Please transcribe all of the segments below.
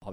Har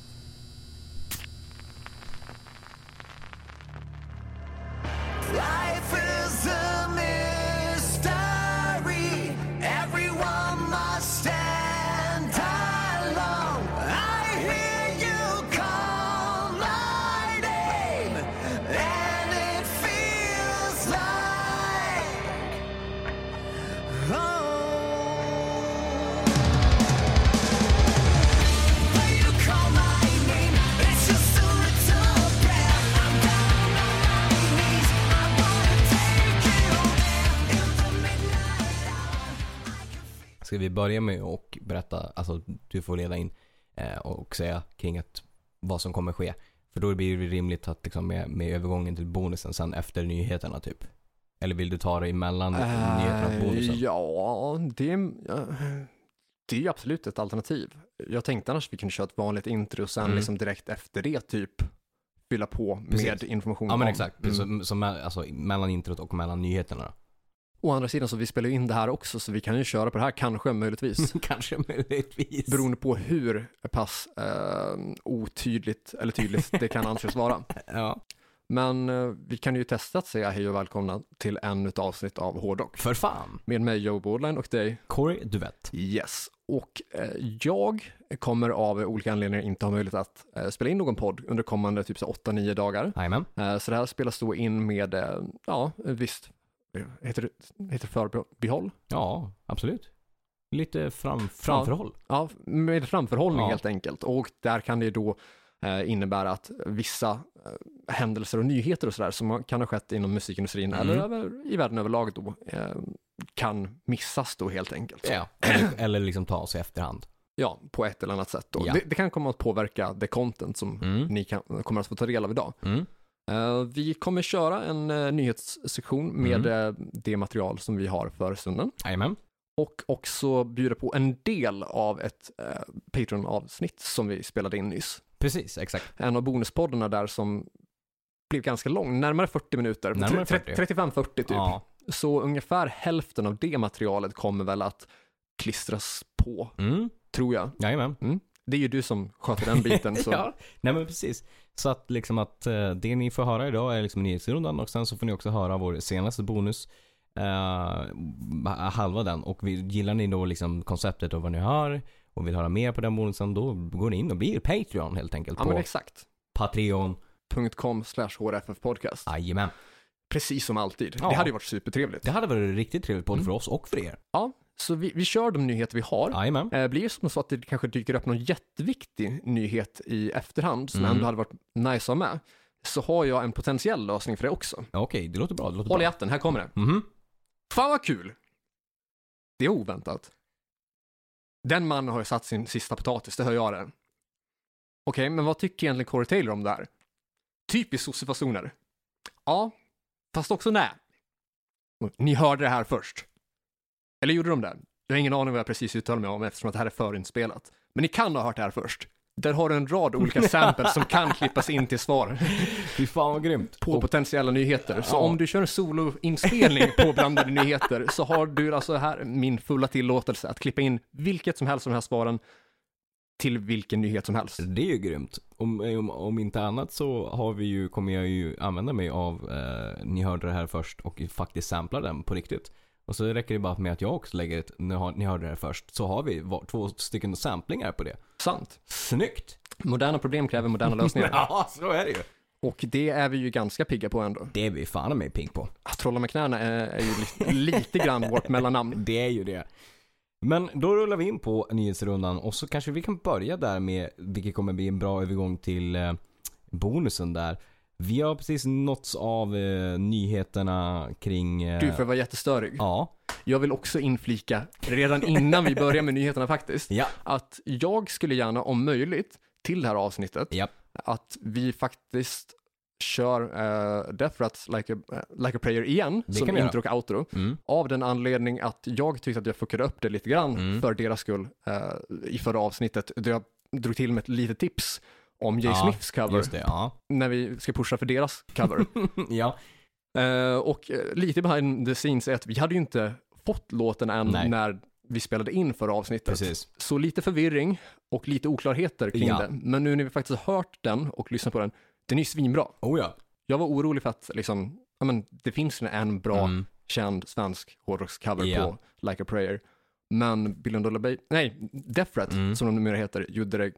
Life is a mystery. Everyone must stand alone. I hear you call my name, and it feels like home. When you call my name, it's just a little breath. I'm down on my knees. I wanna take you in the midnight hour. Ska vi börja med att berätta, alltså du får leda in eh, och säga kring att, vad som kommer ske. För då blir det rimligt att liksom med, med övergången till bonusen sen efter nyheterna typ. Eller vill du ta det emellan nyheterna och bonusen? Eh, ja, det är, ja, det är absolut ett alternativ. Jag tänkte annars vi kunde köra ett vanligt intro och sen Mm. liksom direkt efter det typ fylla på med Precis. information. Ja men om- exakt, Mm. så, så me- alltså, mellan introt och mellan nyheterna då. Å andra sidan så vi spelar ju in det här också så vi kan ju köra på det här kanske Mm. möjligtvis. Kanske möjligtvis. Beroende på hur pass eh, otydligt eller tydligt det kan anses vara. Ja. Men eh, vi kan ju testa att säga hej och välkomna till ännu ett avsnitt av Hårdrock. För fan. Med mig Joe Bordline och dig Corey, du vet. Yes, och eh, jag kommer av olika anledningar inte ha möjlighet att eh, spela in någon podd under kommande typ så 8-9 dagar. Jajamän. Eh, så det här spelas då in med, eh, ja, visst, eh, heter det, heter det förbehåll? Ja, absolut. Lite fram, framförhåll. Ja, med framförhållning Ja. helt enkelt. Och där kan det då eh, innebära att vissa eh, händelser och nyheter och sådär som kan ha skett inom musikindustrin Mm. eller över, i världen överlag då eh, kan missas då helt enkelt. Ja. Eller, eller liksom ta oss i efterhand. Ja, på ett eller annat sätt. Då. Ja. Det, det kan komma att påverka det content som Mm. ni kan, kommer att få ta del av idag. Mm. Eh, vi kommer köra en eh, nyhetssektion med Mm. eh, det material som vi har för stunden Jajamän. och också bjuda på en del av ett eh, Patreon-avsnitt som vi spelade in nyss. Precis, exakt. En av bonuspoddarna där som blev ganska lång, närmare 40 minuter, Närmare 40. 35-40 typ. Ja. Så ungefär hälften av det materialet kommer väl att klistras på, Mm. tror jag. Jajamän. Det är ju du som sköter den biten. Så. Ja, nej men precis. Så att liksom att eh, det ni får höra idag är liksom nyhetsrundan och sen så får ni också höra vår senaste bonus. eh, halva den och vi, gillar ni då liksom konceptet och vad ni hör och vill höra mer på den bonusen då går ni in och blir Patreon helt enkelt ja på men exakt. Patreon. .com slash HRFF podcast. Jajamän. Precis som alltid. Ja. Det hade ju varit supertrevligt. Det hade varit en riktigt trevligt Mm. både för oss och för er. Ja, så vi, vi kör de nyheter vi har. Jajamän. Eh, blir det som så att det kanske dyker upp någon jätteviktig nyhet i efterhand som Mm. ändå hade varit nice att ha med, så har jag en potentiell lösning för det också. Ja, Okej, det låter bra. Det låter Håll i bra. hatten, här kommer det. Mhm. Fan vad kul! Det är oväntat. Den mannen har ju satt sin sista potatis, det hör jag det. Okej, men vad tycker egentligen Corey Taylor om det här? Typiskt sossefasoner. Ja, fast också nej. Ni hörde det här först. Eller gjorde de det? Jag har ingen aning vad jag precis uttalade mig om eftersom att det här är förinspelat. Men ni kan ha hört det här först. Där har du en rad olika samples som kan klippas in till svar Fy fan vad grymt. på potentiella nyheter. Så Ja. om du kör en soloinspelning på blandade nyheter så har du alltså här min fulla tillåtelse att klippa in vilket som helst av de här svaren till vilken nyhet som helst. Det är ju grymt. Om, om, om inte annat så har vi ju, kommer jag ju använda mig av eh, Ni hörde det här först och faktiskt sampla den på riktigt. Och så räcker det bara med att jag också lägger ett Ni, hör, ni hörde det här först så har vi var, två stycken samplingar på det. Sant. Snyggt! Moderna problem kräver moderna lösningar. Ja, så är det ju. Och det är vi ju ganska pigga på ändå. Det är vi fan mig pink på. Att trolla med knäna är, är ju lite, lite grann vårt mellannamn. Det är ju det. Men då rullar vi in på nyhetsrundan och så kanske vi kan börja där med, vilket kommer bli en bra övergång till eh, bonusen där. Vi har precis nåtts av eh, nyheterna kring... Eh, Du får vara jättestörig. Ja. Jag vill också inflika, redan innan vi börjar med nyheterna faktiskt, Ja. att jag skulle gärna om möjligt till det här avsnittet Ja. att vi faktiskt kör eh, Death Threats like a, eh, like a Prayer igen Det kan som vi göra. intro och outro. Mm. Av den anledning att jag tyckte att jag fuckade upp det lite grann Mm. för deras skull eh, i förra avsnittet. Då jag drog till med ett litet tips om Jay Ja, Smiths cover Just det, ja. mm, när vi ska pusha för deras cover. ja. Eh, och eh, lite behind the scenes är att vi hade ju inte fått låten än Nej. när vi spelade in förra avsnittet. Precis. Så lite förvirring och lite oklarheter kring Ja. det. Men nu när vi faktiskt har hört den och lyssnat på den, den är ju svinbra. Oh ja. Jag var orolig för att liksom, ja, men, det finns en bra Mm. känd svensk hårdrockscover Ja. på Like a Prayer. Men Bill and Dollar Bay, nej, Death Threat, Mm. som de numera heter, gjorde det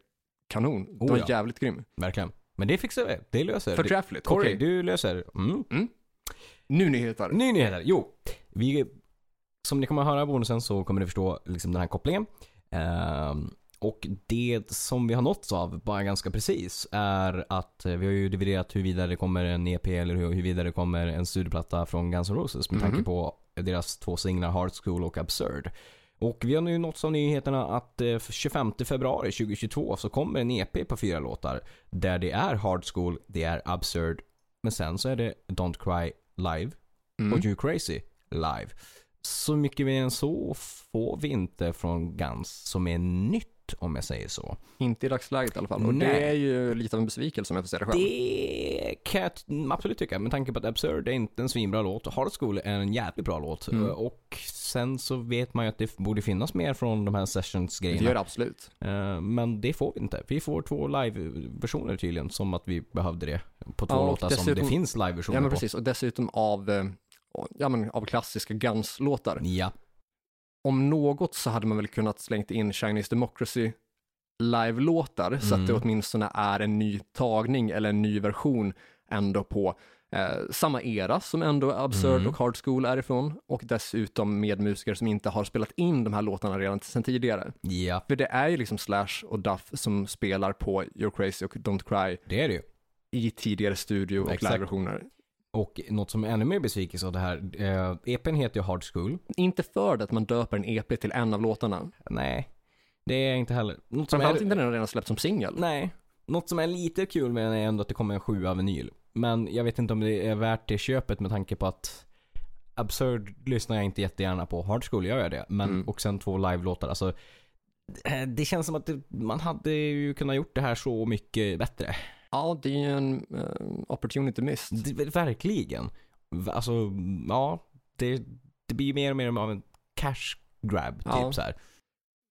kanon. Oh, det var ja. jävligt grym. Verkligen. Men det fixar vi. Det löser det. Förträffligt. Okej, Corey, du löser. Mm. nu nyheter. Ny nyheter. Jo, vi, som ni kommer höra i bonusen så kommer ni förstå liksom den här kopplingen. Ehm, och det som vi har nåtts av, bara ganska precis, är att eh, vi har ju dividerat huruvida det kommer en EP eller hur- huruvida det kommer en studioplatta från Guns N' Roses med tanke Mhm. på deras två singlar Hard School och Absurd. Och vi har nu nåtts av nyheterna att eh, 25 februari 2022 så kommer en EP på fyra låtar. Där det är Hard School, det är Absurd, men sen så är det Don't Cry live Mm. och You Crazy live. Så mycket mer än så får vi inte från Guns som är nytt om jag säger så. Inte i dagsläget i alla fall. Och Nej. det är ju lite av en besvikelse om jag får säga det själv. Det kan jag t- absolut tycka med tanke på att Absurd är inte en svinbra låt. Hard School är en jävligt bra låt. Eh, Mm. Och sen så vet man ju att det borde finnas mer från de här Det gör sessions-grejerna. det absolut. Eh, Men det får vi inte. Vi får två live-versioner tydligen som att vi behövde det på två Ja, och låtar som det dessutom- finns Ja, live-versioner men på. precis. Och dessutom av, eh, ja, men av klassiska Guns-låtar. Ja, om något så hade man väl kunnat slängt in Chinese Democracy live-låtar så att det Mm. åtminstone är en ny tagning eller en ny version ändå på eh, samma era som ändå Absurd Mm. och Hard School är ifrån och dessutom med musiker som inte har spelat in de här låtarna redan sedan tidigare. ja, För det är ju liksom Slash och Duff som spelar på You're Crazy och Don't Cry det är det ju. i tidigare studio och Exakt. live-versioner. Och något som är ännu mer besvikelse av det här, eh, EPn heter ju Hard School. Inte för det att man döper en EP till en av låtarna. Nej, det är jag inte heller. Något som Framförallt är, inte när den redan släppts som singel. nej, något som är lite kul med den är ändå att det kommer en sjua vinyl. Men jag vet inte om det är värt det köpet med tanke på att Absurd lyssnar jag inte jättegärna på. Hard School gör jag det. Men, Mm. Och sen två live-låtar. Alltså, eh, det känns som att det, man hade ju kunnat gjort det här så mycket bättre. Ja, det är ju en eh, opportunity missed. Det, verkligen. V- Alltså, ja. Det, det blir mer och mer av en cash grab. Typ Ja. så här.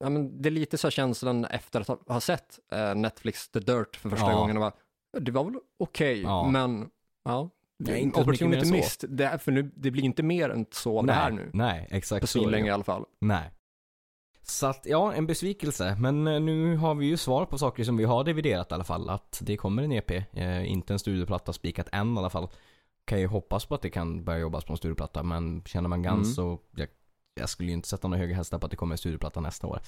Ja, men det är lite så här känslan efter att ha, ha sett eh, Netflix The Dirt för första Ja. gången. Och bara, det var väl okej, Ja. men ja. Nej, inte så mycket mer än opportunity så. missed. Det, är- för nu, det blir inte mer än så av nej, det här nu. Nej, exakt. På så är det. svinlänge i alla fall. Nej. Så att, ja, en besvikelse. Men eh, nu har vi ju svar på saker som vi har dividerat i alla fall. Att det kommer en EP. Eh, inte en studioplatta spikat än i alla fall. Kan ju hoppas på att det kan börja jobbas på en studioplatta. Men känner man Guns Mm. så, jag, jag skulle ju inte sätta några höga hästar på att det kommer en studioplatta nästa år.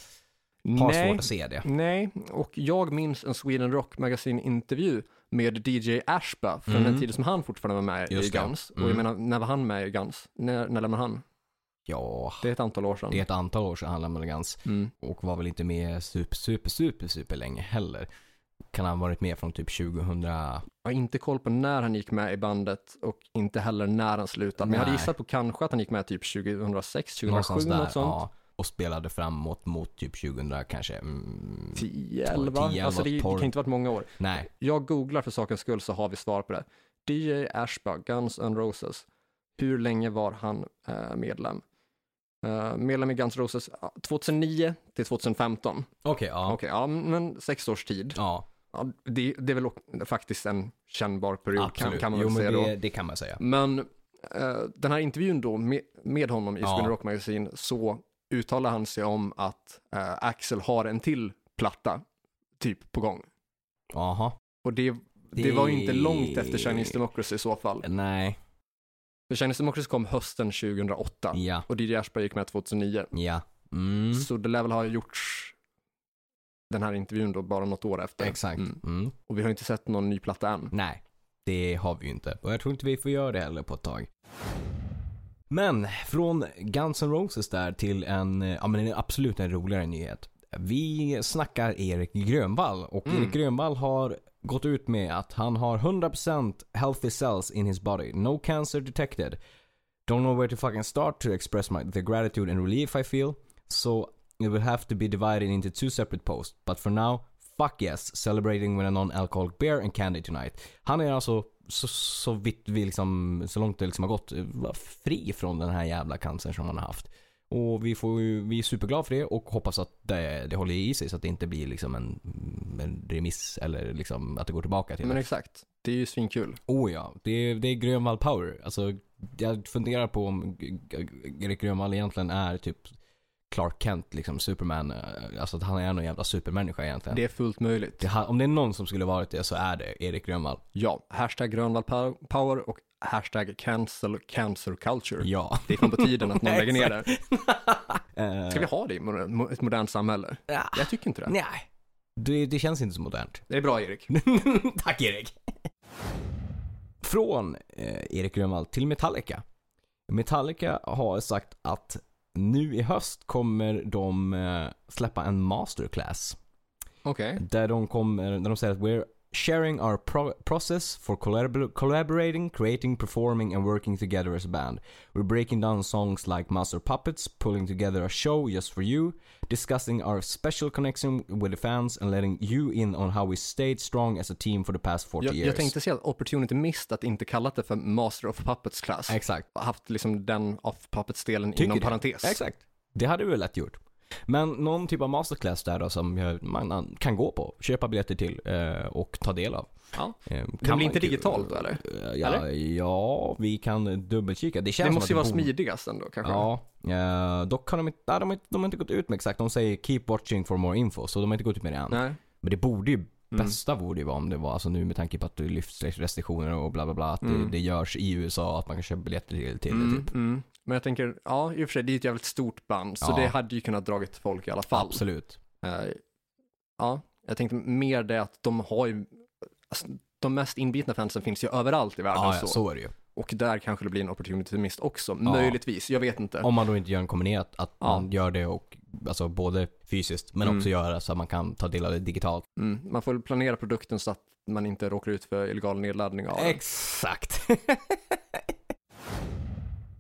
Har svårt Nej, att se det. nej, och jag minns en Sweden Rock Magazine-intervju med DJ Ashba från Mm. den tiden som han fortfarande var med Just i det. Guns. Och Mm. jag menar, när var han med i Guns? När, när lämnade han? Ja, Det är ett antal år sedan. det är ett antal år sedan han lämnade Guns. Mm. Och var väl inte med super, super, super, super länge heller. Kan han ha varit med från typ 2000... Jag har inte koll på när han gick med i bandet och inte heller när han slutade. Men jag Nej. hade gissat på kanske att han gick med typ 2006, 2007, Någonstans där. något sånt. Ja, och spelade framåt mot typ 2000 kanske. Mm, 10, 11, 10, alltså det, det kan 12. inte varit många år. nej. Jag googlar för sakens skull så har vi svar på det. DJ Ashba, Guns N' Roses. Hur länge var han eh, medlem? Eh, medlem i Guns N' Roses ja, 2009 till 2015. Okej, ja. Okej, ja men sex års tid. Ja, Ja, det, det är väl ok- faktiskt en kännbar period kan, absolut. kan man jo, väl säga men då. det, det kan man säga. Men eh, den här intervjun då med, med honom i Ja. Spinner Rock Magazine så uttalar han sig om att eh, Axel har en till platta typ på gång. Jaha. Och det, det... Det- var ju inte långt efter Chinese Democracy i så fall. Nej. För Chinese Democracy kom hösten 2008 Ja. och DJ Ashberg gick med 2009. Ja. Mm. Så det lär väl ha gjorts den här intervjun då bara något år efter. Exakt. Mm. Mm. Och vi har inte sett någon ny platta än. Nej, det har vi ju inte. Och jag tror inte vi får göra det heller på ett tag. Men från Guns N' Roses där till en, eh, ja men en absolut en roligare nyhet. Vi snackar Erik Grönvall och Mm. Erik Grönvall har gått ut med att han har 100% healthy cells in his body. No cancer detected. Don't know where to fucking start to express my the gratitude and relief I feel. So it will have to be divided into two separate posts. But for now, fuck yes, celebrating with a non-alcoholic beer and candy tonight. Han är alltså så, så vitt vi liksom, så långt det liksom har gått, eh, fri från den här jävla cancern som han har haft. Och vi, får ju, vi är superglada för det och hoppas att det, det håller i sig så att det inte blir liksom en, en remiss eller liksom att det går tillbaka till Men det. exakt, det är ju svinkul. Oh ja, det är, det är Grönvall power. Alltså, jag funderar på om G- G- Erik Grönvall egentligen är typ Clark Kent, liksom Superman. eh, Alltså att han är någon jävla supermänniska egentligen. Det är fullt möjligt. Det, ha- om det är någon som skulle varit det så är det Erik Grönvall. Ja, hashtag Grönvall Pow- Power och hashtag cancel cancer culture. Ja. Det är fan på tiden att någon lägger ner det. Eh, Ska vi ha det i moder- mo- ett modernt samhälle? Ja. Jag tycker inte det. Nej. Det, det känns inte så modernt. Det är bra Erik. Tack Erik. Från eh, Erik Grönvall till Metallica. Metallica har sagt att nu i höst kommer de eh, släppa en masterclass. Okej. Där de, kommer, där de säger att we're sharing our pro- process for collabor- collaborating, creating, performing and working together as a band. We're breaking down songs like Master Puppets, pulling together a show just for you, discussing our special connection with the fans and letting you in on how we stayed strong as a team for the past 40 Jag, years. jag tänkte säga att opportunity missed att inte kallat det för Master of Puppets class. Exakt. Haft liksom den of Puppets-delen Tycker inom det. parentes. Exakt. Det hade vi väl lätt gjort. Men någon typ av masterclass där då som jag- man an- kan gå på, köpa biljetter till eh, och ta del av. Ja. Eh, Kan Det man blir inte ju- digitalt då eller? Eh, Ja, ja, vi kan dubbelkika. Det känns Det som måste ju att vara det borde- smidigast ändå kanske. Ja, eh, dock har de inte, nej, de, har inte, de har inte gått ut med exakt. De säger keep watching for more info, så de har inte gått ut med det än. Nej. Mm. Men det borde ju, bästa borde ju vara om det var, alltså nu med tanke på att det lyfts restriktioner och bla bla bla, att det, det görs i USA, att man kan köpa biljetter till, till det typ. Mm. Men jag tänker, ja i och för sig, det är ett jävligt stort band, så Ja. det hade ju kunnat dragit folk i alla fall. Absolut. Eh, ja, jag tänkte mer det att de har ju, alltså, de mest inbitna fansen finns ju överallt i världen Ja, ja, så. så är det ju. Och där kanske det blir en opportunity mist också, möjligtvis, jag vet inte. Om man då inte gör en kombinerat, att Ja. man gör det och, alltså både fysiskt, men Mm. också göra så att man kan ta del av det digitalt. Mm. Man får väl planera produkten så att man inte råkar ut för illegal nedladdning av den. Exakt.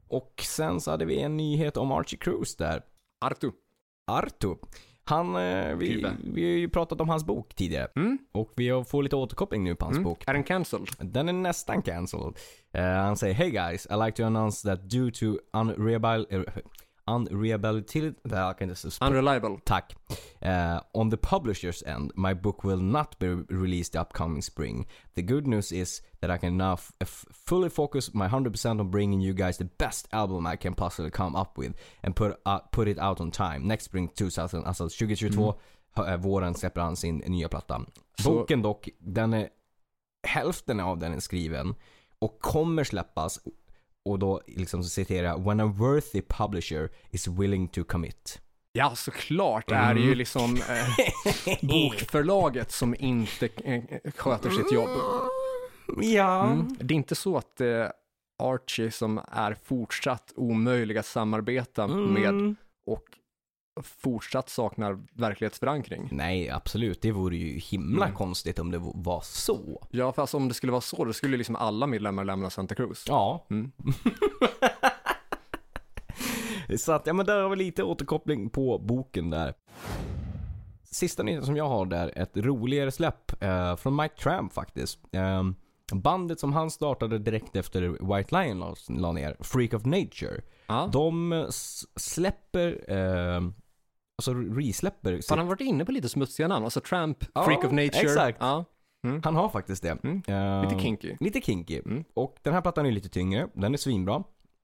och sen så hade vi en nyhet om Archie Cruz där. Artu. Arto. Han, eh, vi, Kuba. vi har ju pratat om hans bok tidigare. Mm. Och vi har- får lite återkoppling nu på hans Mm. bok. Är den cancelled? Den är nästan cancelled. Eh, han säger Hey guys, I like to announce that due to unrehabil... eh, unrehabilitated... Jag kan inte ens- Unreliable. Tack. Eh, on the publisher's end, my book will not be released the upcoming spring. The good news is that I can now f- f- fully focus my 100% on bringing you guys the best album I can possibly come up with and put, uh, put it out on time. Next spring 2000, alltså 2022, hö- eh, våren släpper han sin nya platta. Så- Boken dock, den är, hälften av den är skriven och kommer släppas och då liksom citerar jag “When a worthy publisher is willing to commit”. Ja, såklart. Det här är Mm. ju liksom eh, bokförlaget som inte eh, sköter sitt jobb. Mm. Ja. Det är inte så att det är Archie som är fortsatt omöjlig att samarbeta med Mm. och fortsatt saknar verklighetsförankring. Nej, absolut. Det vore ju himla Mm. konstigt om det v- var så. Ja, fast om det skulle vara så, då skulle liksom alla medlemmar lämna Santa Cruz. Ja. Mm. så att, ja men där har vi lite återkoppling på boken där. Sista nyheten som jag har där, ett roligare släpp eh, från Mike Tramp faktiskt. Eh, bandet som han startade direkt efter White Lion la, la ner, Freak of Nature. Ja. De eh, s- släpper, eh, alltså resläpper sitt Fan, han har varit inne på lite smutsiga namn, alltså Tramp, Freak of Nature. exakt. Ja, Han har faktiskt det. Mm. Eh, lite kinky. Mm. Lite kinky. Och den här plattan är lite tyngre. Den är svinbra.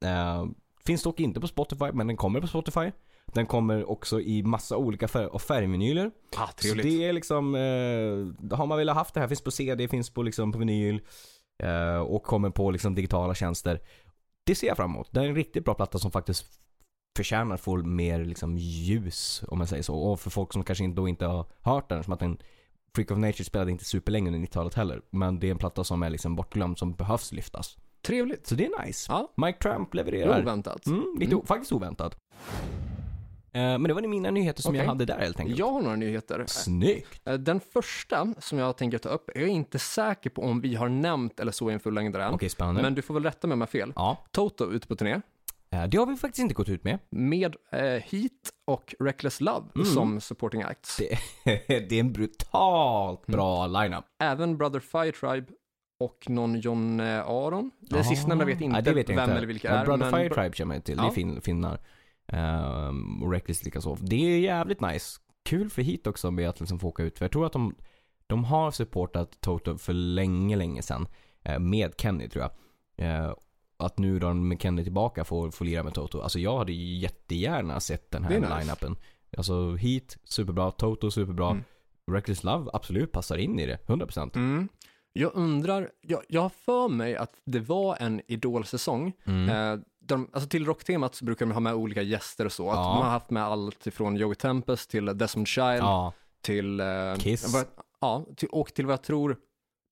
Eh, finns dock inte på Spotify, men den kommer på Spotify. Den kommer också i massa olika fär- och färgmenyler. Ah, Så trevligt. det är liksom, eh, har man velat haft det här, finns på CD, finns på, liksom, på vinyl eh, och kommer på liksom, digitala tjänster. Det ser jag fram emot. Det är en riktigt bra platta som faktiskt förtjänar att få mer liksom, ljus, om man säger så. Och för folk som kanske inte- då inte har hört den, som att den Freak of Nature spelade inte superlänge under 90-talet heller. Men det är en platta som är liksom bortglömd som behövs lyftas. Trevligt. Så det är nice. Ja. Mike Tramp levererar. Oväntat. Mm, lite o- faktiskt oväntat. Eh, men det var mina nyheter som jag Okej. hade där helt enkelt. Jag har några nyheter. Snyggt! Eh, Den första som jag tänker ta upp, jag är inte säker på om vi har nämnt eller så i en fullängdare än. Okej, spännande. Men du får väl rätta mig om jag har fel. Ja, Toto ute på turné. eh, det har vi faktiskt inte gått ut med. med eh, Heat och Reckless Love Mm. som supporting acts. Det, det är en brutalt bra lineup. Även Brother Fire Tribe och någon John eh, Aron. Den sistnämnda vet Ah, inte det vet jag vem inte. eller vilka Ja, är. Brother men Fire Tribe känner jag till. Det är Ja. fin, finnar. Ehm, och Reckless likaså. Det är jävligt nice. Kul för hit också med att liksom få åka ut. För jag tror att de, de har supportat Toto för länge, länge sedan. eh, med Kenny tror jag. Eh, att nu då med Kenny tillbaka får, får lira med Toto. Alltså jag hade ju jättegärna sett den Det här är nice. line-upen. Alltså Heat, superbra. Toto, superbra. Mm. Reckless Love absolut passar in i det. 100%. Mm. Jag undrar, jag, jag har för mig att det var en idolsäsong. Mm. Eh, de, alltså till rocktemat så brukar de ha med olika gäster och så. Att Ja. De har haft med allt ifrån Joey Tempest till Desmond Child Ja. till... eh, Kiss. Vad, ja, till, och till vad jag tror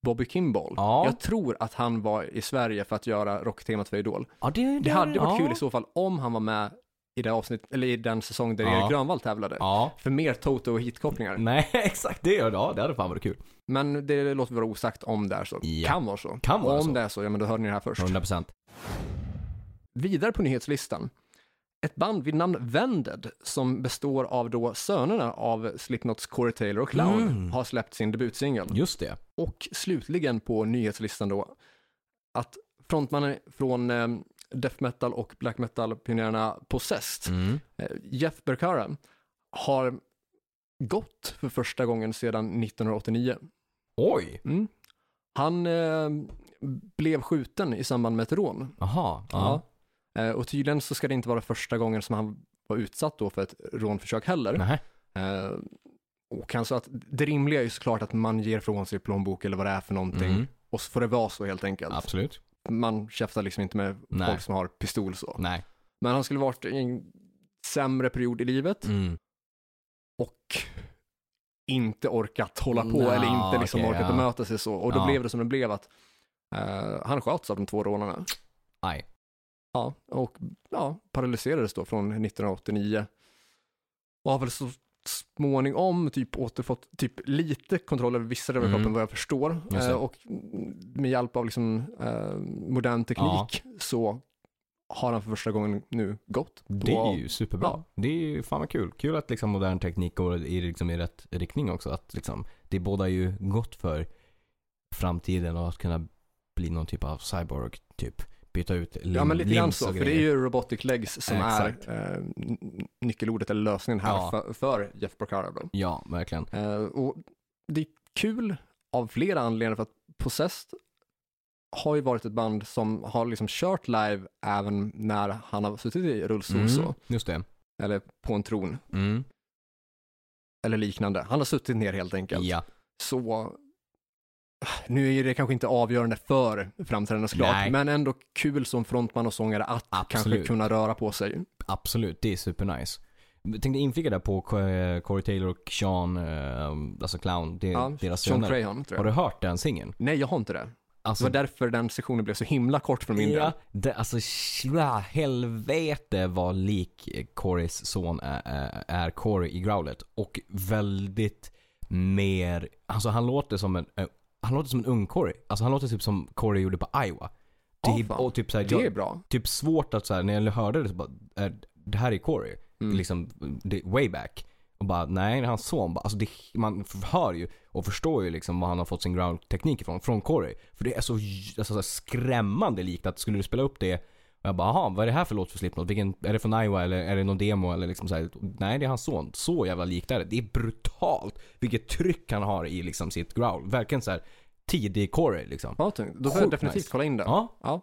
Bobby Kimball. Ja. Jag tror att han var i Sverige för att göra rocktemat för Idol. ja det, Det hade varit ja. kul i så fall om han var med i, det avsnitt, eller i den säsong där Ja. Erik Grönvall tävlade. Ja. Mm. För mer Toto och hitkopplingar. Nej, exakt. Det, ja, det hade fan varit kul. Men det låter vara osagt om det är så. Ja. Kan vara så. Kan vara om så. det är så, ja men då hörde ni det här först. 100%. Vidare på nyhetslistan. Ett band vid namn Vended, som består av då sönerna av Slipknots Corey Taylor och Clown, Mm. har släppt sin debutsingel. Just det. Och slutligen på nyhetslistan då, att frontmannen från eh, death metal och black metal-pionjärerna Possessed, Mm. eh, Jeff Berkara, har gått för första gången sedan 1989. Oj! Mm. Han eh, blev skjuten i samband med ett rån. Jaha. Ja. Ja. Eh, och tydligen så ska det inte vara första gången som han var utsatt då för ett rånförsök heller. Nej. Eh, och kanske att det rimliga är ju såklart att man ger från sig plånbok eller vad det är för någonting. Mm. Och så får det vara så helt enkelt. Absolut. Man käftar liksom inte med Nej. folk som har pistol så. Nej. Men han skulle varit i en sämre period i livet Mm. och inte orkat hålla på Nå, eller inte liksom okej, orkat ja. bemöta sig så. Och då Ja. blev det som det blev att eh, han sköts av de två rånarna. Aj. Ja, och ja, paralyserades då från 1989. Och har väl så småningom typ återfått typ lite kontroll över vissa delar av Mm. kroppen vad jag förstår. Just det. Eh, och mm, med hjälp av liksom, eh, modern teknik så har han för första gången nu gått. på- Det är ju superbra. Ja. Det är ju fan vad kul. Kul att liksom modern teknik går i, liksom i rätt riktning också. Att liksom, det bådar ju gott för framtiden och att kunna bli någon typ av cyborg. Typ byta ut lim, Ja, men lite grann limbs så. och För det är grejer. ju Robotic Legs som Exakt. är eh, n- nyckelordet eller lösningen här Ja. för, för Jeff Porcaro. då. Ja, verkligen. Eh, och det är kul av flera anledningar för att Possessed har ju varit ett band som har liksom kört live även när han har suttit i rullstol Mm. så, Just det. eller på en tron Mm. eller liknande. Han har suttit ner helt enkelt. Ja. Så nu är det kanske inte avgörande för framträdandet såklart, Nej. men ändå kul som frontman och sångare att Absolut. kanske kunna röra på sig. Absolut, det är supernice. Jag tänkte inflika där på eh, Corey Taylor och Sean, eh, alltså Clown, det, Ja, deras John söner. Crayon tror Har jag. du hört den singeln? Nej, jag har inte det. Det Alltså, var därför den sessionen blev så himla kort för min del. ja, det, alltså sla, helvete vad lik eh, Corys son är, är- är Corey i Growlet. Och väldigt mer, alltså han låter som en, eh, han låter som en ung Corey. Alltså han låter typ som Corey gjorde på Iowa. Ja, Typ, fan. och typ såhär, Det är bra. typ svårt att så här, när jag hörde det så bara, eh, det här är Corey. Liksom, det, way back. Och bara, nej, det är hans son. Bara, alltså det, man hör ju och förstår ju liksom vad han har fått sin ground-teknik ifrån, från Corey. För det är så, j- alltså, så här skrämmande likt att skulle du spela upp det och jag bara, aha, vad är det här för låt för Slipknot? Vilken, är det från Iowa eller är det någon demo eller liksom så här, Nej, det är hans son. Så jävla likt är det. Det är brutalt vilket tryck han har i liksom sitt growl. Verkligen så här tidig Corey liksom. Ja, tungt. Då får jag Sjukt definitivt nice. kolla in det. Ja, Ja.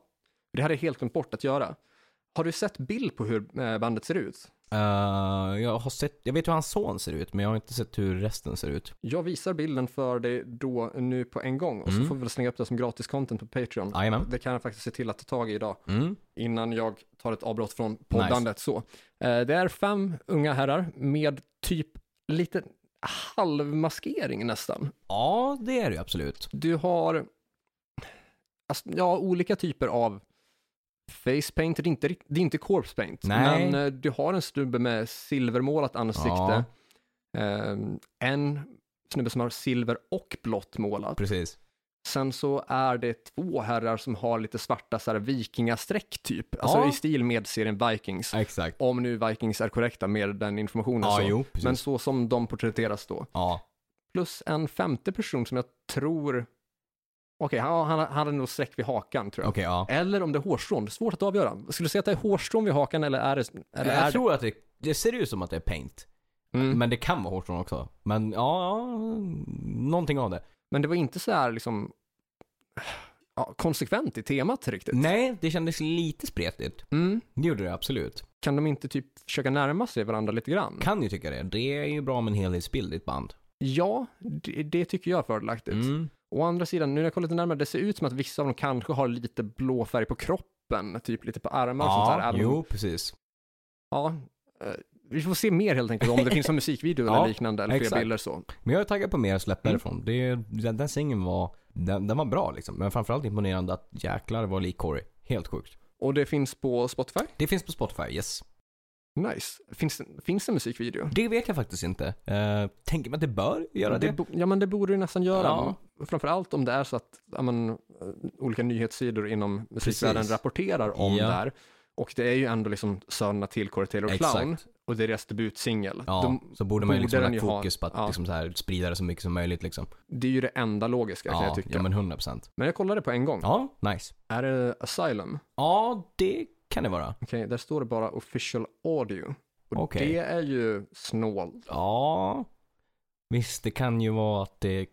Det hade jag helt glömt bort att göra. Har du sett bild på hur eh, bandet ser ut? Eh, jag har sett, jag vet hur hans son ser ut men jag har inte sett hur resten ser ut. Jag visar bilden för dig då nu på en gång och Mm. så får vi väl slänga upp det som gratis content på Patreon. Jajamän. Det kan jag faktiskt se till att ta tag i idag Mm. innan jag tar ett avbrott från poddandet. Så. Eh, det är fem unga herrar med typ lite halvmaskering nästan. Ja, det är det ju absolut. Du har alltså, ja, olika typer av face paint. Det är inte, rikt- det är inte corpse paint, Nej. men eh, du har en snubbe med silvermålat ansikte. Ehm, en snubbe som har silver och blått målat. Precis. Sen så är det två herrar som har lite svarta så här, vikingastreck typ, alltså Ja. i stil med serien Vikings. Exakt. Om nu Vikings är korrekta med den informationen. Ja, så. jo, precis. Alltså, Men så som de porträtteras då Ja. plus en femte person som jag tror Okej, han, han, han hade nog streck vid hakan tror jag. Okej, ja. Eller om det är hårstrån, svårt att avgöra. Skulle du säga att det är hårstrån vid hakan eller är det... Eller är Jag tror att det, det ser ut som att det är paint. det... Mm. Men det kan vara hårstrån också. Men ja, ja, någonting av det. Men det var inte så här liksom ja, konsekvent i temat riktigt. Nej, det kändes lite spretigt. Mm. Det gjorde det absolut. Kan de inte typ försöka närma sig varandra lite grann? Kan ju tycka det. Det är ju bra med en helhetsbild i ett band. Ja, det, det tycker jag är fördelaktigt. Mm. Å andra sidan, nu när jag kollar lite närmare, det ser ut som att vissa av dem kanske har lite blå färg på kroppen, typ lite på armar och sånt Ja, där. även om- jo precis. Ja, eh, vi får se mer helt enkelt om det finns en musikvideo eller Ja, liknande, eller fler exakt. bilder så. Men jag är taggad på mer släpp Mm. därifrån. Det, den, den singeln var, den, den var bra liksom. Men framförallt imponerande att jäklar det var lik Corey. Helt sjukt. Och det finns på Spotify? Det finns på Spotify, yes. Nice. Finns, det- finns det musikvideo? Det vet jag faktiskt inte. Eh, tänker man att det bör göra det? bo- ja, men det borde du nästan göra. Ja. Framförallt om det är så att ja, men, eh, olika nyhetssidor inom musikvärlden Precis. rapporterar om Ja. det här. Och det är ju ändå liksom sönerna till Corey Taylor och Clown Exakt. och deras debutsingel. Ja, De, så borde man ju borde liksom den ha ju lagt ha- fokus på att ja. liksom så här, sprida det så mycket som möjligt liksom. det är ju det enda logiska kan jag Ja, tycka. ja men... men 100%. jag kollade på en gång. Ja, nice. Är det Asylum? Ja, det kan det vara. Okej, där står det bara official audio. Och Okej. det är ju snålt. Ja, visst det kan ju vara att det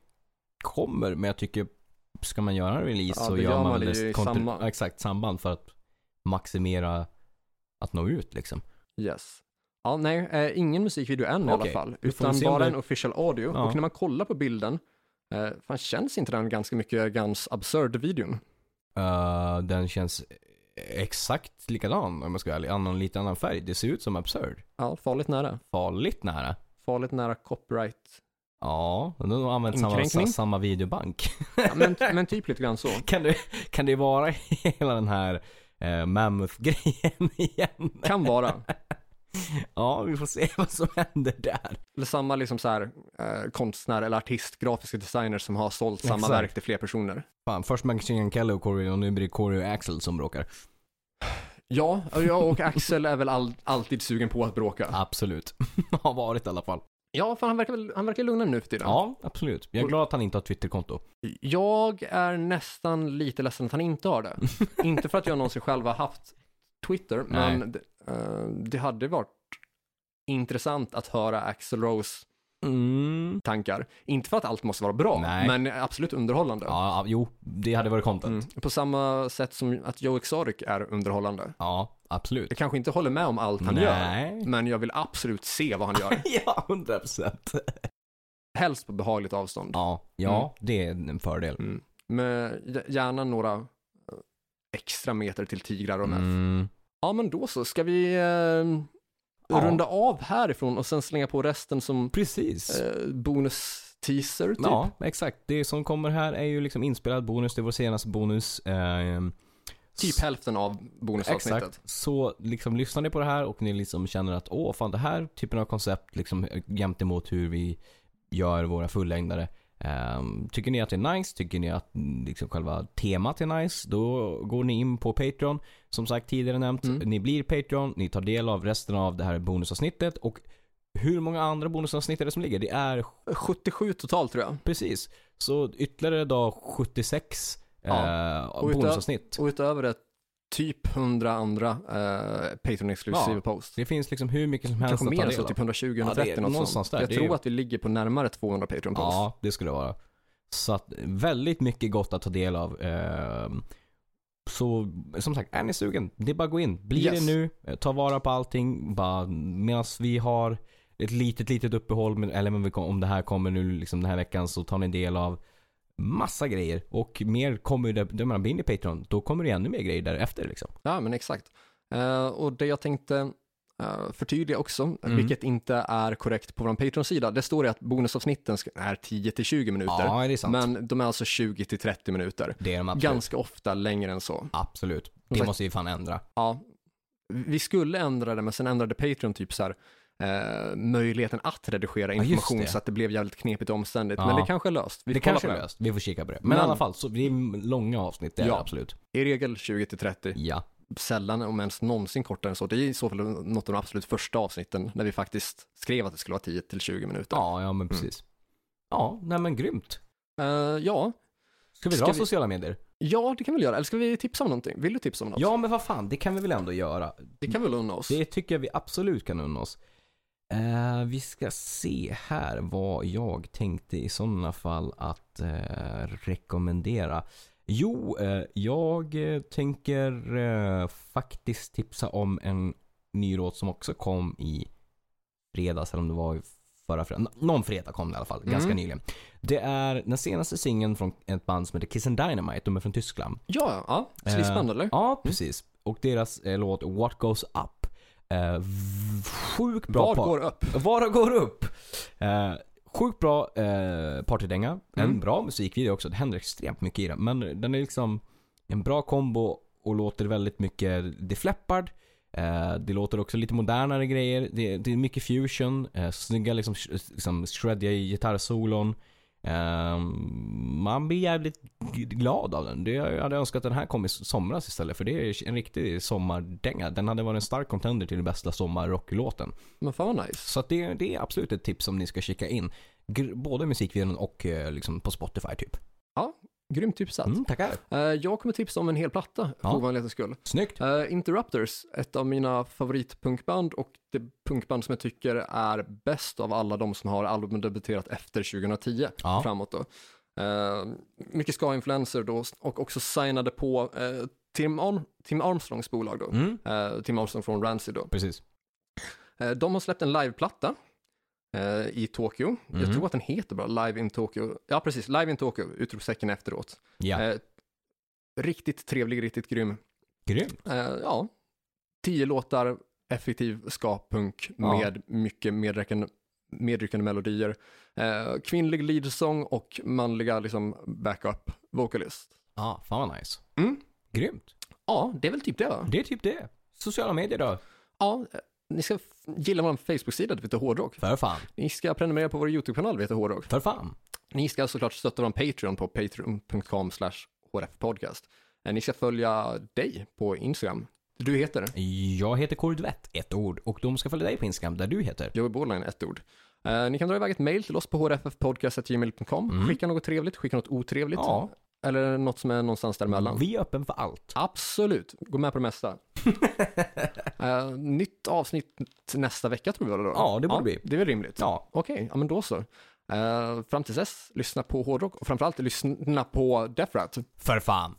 kommer, men jag tycker ska man göra en release Ja, så då gör man, väl ju i det kontr- samband. exakt samband för att maximera att nå ut liksom. Yes. Ja, nej, eh, ingen musikvideo än i alla Okej, fall, vi får utan se om bara det- en official audio. Ja. Och när man kollar på bilden, eh, fan känns inte den ganska mycket Guns Absurd-videon? Eh, den känns exakt likadan om jag ska vara ärlig, annan, lite annan färg. Det ser ut som absurd. Ja, farligt nära. Farligt nära. Farligt nära copyright. Ja, de har använt Inkränkning? samma, samma videobank. Ja, men, men typ lite grann så. kan, det, kan det vara hela den här eh, Mammoth-grejen igen? Kan vara. Ja, vi får se vad som händer där. Eller samma liksom så här, eh, konstnär eller artist, grafiska designer som har sålt samma Exakt. verk till fler personer. Fan, först Machine Gun Kelly och Corey och nu blir det Corey och Axel som bråkar. Ja, och jag och Axel är väl all, alltid sugen på att bråka. Absolut. Har varit i alla fall. Ja, för han verkar, väl, han verkar lugna nu för tiden. Ja, absolut. Jag är glad att han inte har Twitterkonto. Jag är nästan lite ledsen att han inte har det. inte för att jag någonsin själv har haft Twitter, men det, eh, det hade varit intressant att höra Axel Rose Mm. tankar. Inte för att allt måste vara bra, Nej. men absolut underhållande. Ja, ja, jo, det hade varit content. Mm. På samma sätt som att Joe Exotic är underhållande. Ja, absolut. Jag kanske inte håller med om allt han gör, Nej. men jag vill absolut se vad han gör. Ja, 100 procent. Helst på behagligt avstånd. Ja, ja det är en fördel. Mm. Med gärna några eh, extra meter till tigrar och meth. Mm. Ja, men då så. Ska vi eh, Ja. runda av härifrån och sen slänga på resten som Precis. eh, bonus-teaser, typ? Ja, exakt. Det som kommer här är ju liksom inspelad bonus. Det är vår senaste bonus. Ehm, Typ hälften av bonusavsnittet. Exakt. Så liksom lyssnar ni på det här och ni liksom känner att åh fan det här typen av koncept liksom jämt emot hur vi gör våra fullängdare. Ehm, tycker ni att det är nice? Tycker ni att mm, liksom själva temat är nice? Då går ni in på Patreon. Som sagt tidigare nämnt. Mm. Ni blir Patreon. Ni tar del av resten av det här bonusavsnittet och hur många andra bonusavsnitt är det som ligger? Det är 77 totalt, tror jag. precis. Så ytterligare dag 76 Ja. eh, utöver- bonusavsnitt. Och utöver det, typ 100 andra eh, Patreon-exklusiva Ja. post. Det finns liksom hur mycket som helst Kanske att ta mer än del så, av. typ 120, Ja, det är 130 något någonstans sånt. där. Jag Det är tror ju- att vi ligger på närmare 200 Patreon-post. Ja, det skulle det vara. Så att väldigt mycket gott att ta del av. Ehm, Så som sagt, är ni sugen? Det är bara att gå in. Bli Yes. det nu. Eh, Ta vara på allting. Bara medan vi har ett litet, litet uppehåll. men- Eller men vi kom- om det här kommer nu liksom den här veckan så tar ni del av massa grejer. Och mer kommer ju, där- jag menar, blir ni Patreon, då kommer det ännu mer grejer därefter liksom. Ja, men exakt. Eh, och det jag tänkte eh, förtydliga också, Mm. vilket inte är korrekt på vår Patreon-sida, det står det att bonusavsnitten ska- är 10-20 minuter, Ja, det är sant. men de är alltså 20-30 minuter. det är de absolut. Ganska ofta längre än så. Absolut. sagt- Det måste vi fan ändra. Ja, vi skulle ändra det, men sen ändrade Patreon typ så här, eh, möjligheten att redigera just information det. så att det blev jävligt knepigt och omständigt. Ja. Men det kanske är löst. Vi Det får kolla kanske på är löst. Vi får kika på det. Men, Men- i alla fall, så det är långa avsnitt. Det är Ja. det absolut. I regel 20-30, Ja. sällan om ens någonsin kortare än så. Det är i så fall något av de absolut första avsnitten när vi faktiskt skrev att det skulle vara Mm. 10-20 minuter. Ja, ja men precis. Ja, nej men grymt. Eh, ja, Ska vi dra Ska vi- sociala medier? Ja, det kan vi väl göra. Eller ska vi tipsa om någonting? Vill du tipsa om något? Ja, men vad fan, det kan vi väl ändå göra. Det kan vi väl unna oss. Det tycker jag vi absolut kan unna oss. Eh, vi ska se här vad jag tänkte i sådana fall att eh, rekommendera. Jo, eh, jag eh, tänker eh, faktiskt tipsa om en ny låt som också kom i fredags, eller om det var i förra fredagen. Någon fredag kom det i alla fall, ganska Mm. nyligen. Det är den senaste singeln från ett band som heter Kiss and Dynamite. De är från Tyskland. Ja, ja. Slipsband eller? Eh, Ja, precis. Och deras eh, låt What Goes Up. Eh, v- sjukt bra Vad par- går upp? Var går upp? Eh, sjukt bra eh, partydänga. En Mm. bra musikvideo också. Det händer extremt mycket i den. Men den är liksom en bra kombo och låter väldigt mycket defleppard. Eh, det låter också lite modernare grejer. Det, det är mycket fusion. Eh, snygga liksom, sh- liksom shreddiga gitarrsolon. Eh, man blir jävligt g- glad av den. Det, jag hade önskat att den här kom i somras istället. För det är en riktig sommardänga. Den hade varit en stark contender till den bästa sommarrocklåten. Men fan vad nice. Så att det, det är absolut ett tips som ni ska kika in. Gr- både musikvideon och eh, liksom på Spotify typ. Grymt tipsat. Mm, tackar. Eh, jag kommer tipsa om en hel platta, för Ja. ovanlighetens skull. Snyggt. Eh, Interrupters, ett av mina favoritpunkband och det punkband som jag tycker är bäst av alla de som har albumdebuterat efter 2010 Ja. framåt då. Eh, mycket ska-influenser då och också signade på eh, Tim, Arm- Tim Armstrongs bolag då. Mm, Eh, Tim Armstrong från Rancid då. precis. Eh, de har släppt en liveplatta eh, i Tokyo. Jag Mhm. tror att den heter bara Live in Tokyo. Ja, precis. Live in Tokyo, utropstecken efteråt. Ja, Eh, riktigt trevlig, riktigt grym. grym. Eh, ja, tio låtar, effektiv ska-punk Ja. med mycket medryckande, medryckande melodier. Eh, kvinnlig leadsång och manliga liksom, backup vocalist. Ja, fan vad nice. Mm. Grymt. Ja, det är väl typ det va? Det är typ det. Sociala medier då. Ja, eh, ni ska f- gilla vår Facebook-sida, det heter Hårdrock. För fan. Ni ska prenumerera på vår YouTube-kanal, det heter Hårdrock. För fan. Ni ska såklart stötta vår Patreon på patreon.com slash hrfpodcast. Eh, Ni ska följa dig på Instagram. Du heter? Jag heter Kordvett, ett ord. Och de ska följa dig på Instagram där du heter. Joey Borderline, ett ord. Eh, ni kan dra iväg ett mejl till oss på hrffpodcast.gmail.com. Skicka något trevligt, skicka något otrevligt. Mm. Ja. Eller något som är någonstans däremellan. Vi är öppen för allt. Absolut, gå med på det mesta. Eh, nytt avsnitt nästa vecka tror vi väl då? Ja, det borde bli. Det är väl rimligt. Ja. Okej, ja, men då så. Eh, fram till dess, lyssna på hårdrock och framförallt lyssna på Death Rat. För fan.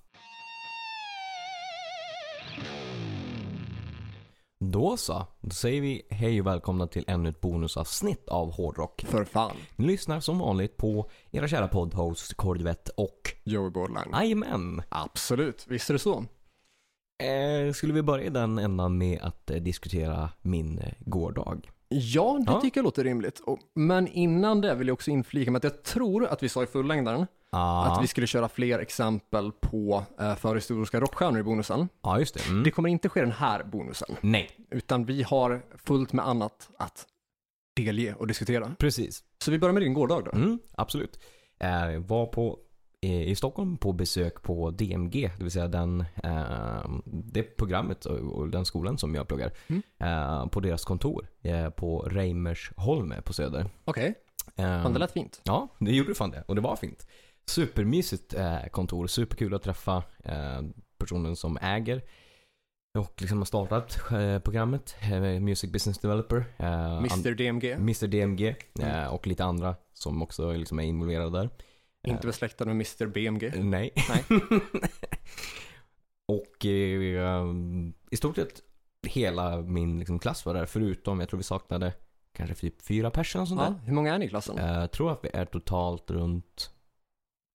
Då så. Då säger vi hej och välkomna till ännu ett bonusavsnitt av Hårdrock. För fan, Ni lyssnar som vanligt på era kära poddhost Kordvett och Joey Borderline. Jajamän. Absolut, visst är det så. Eh, skulle vi börja i den ändan med att eh, diskutera min eh, gårdag? Ja, det Ja. tycker jag låter rimligt. Och, men innan det vill jag också inflika med att jag tror att vi sa i fullängdaren Ah, att vi skulle köra fler exempel på eh, förhistoriska rockstjärnor i bonusen. ja, just det. Mm. Det kommer inte ske den här bonusen, Nej, utan vi har fullt med annat att delge och diskutera. precis. Så vi börjar med din gårdag då. Mm, absolut. Eh, var på, eh, i Stockholm på besök på DMG, det vill säga den, eh, det programmet och, och den skolan som jag pluggar. Mm. Eh, på deras kontor eh, på Reimersholme på Söder. Okej, Eh, fan det lät fint. Ja, det gjorde fan det. Och det var fint. Supermysigt eh, kontor. Superkul att träffa eh, personen som äger och liksom har startat eh, programmet. Eh, Music Business Developer. Eh, and- Mr DMG, Mr DMG. Mm. Eh, och lite andra som också liksom är involverade där. inte besläktad med Mr BMG. Eh, Nej. Nej. och eh, i stort sett hela min liksom, klass var där. Förutom, jag tror vi saknade kanske typ fyra personer sånt där. Ja, hur många är ni i klassen? Jag tror att vi är totalt runt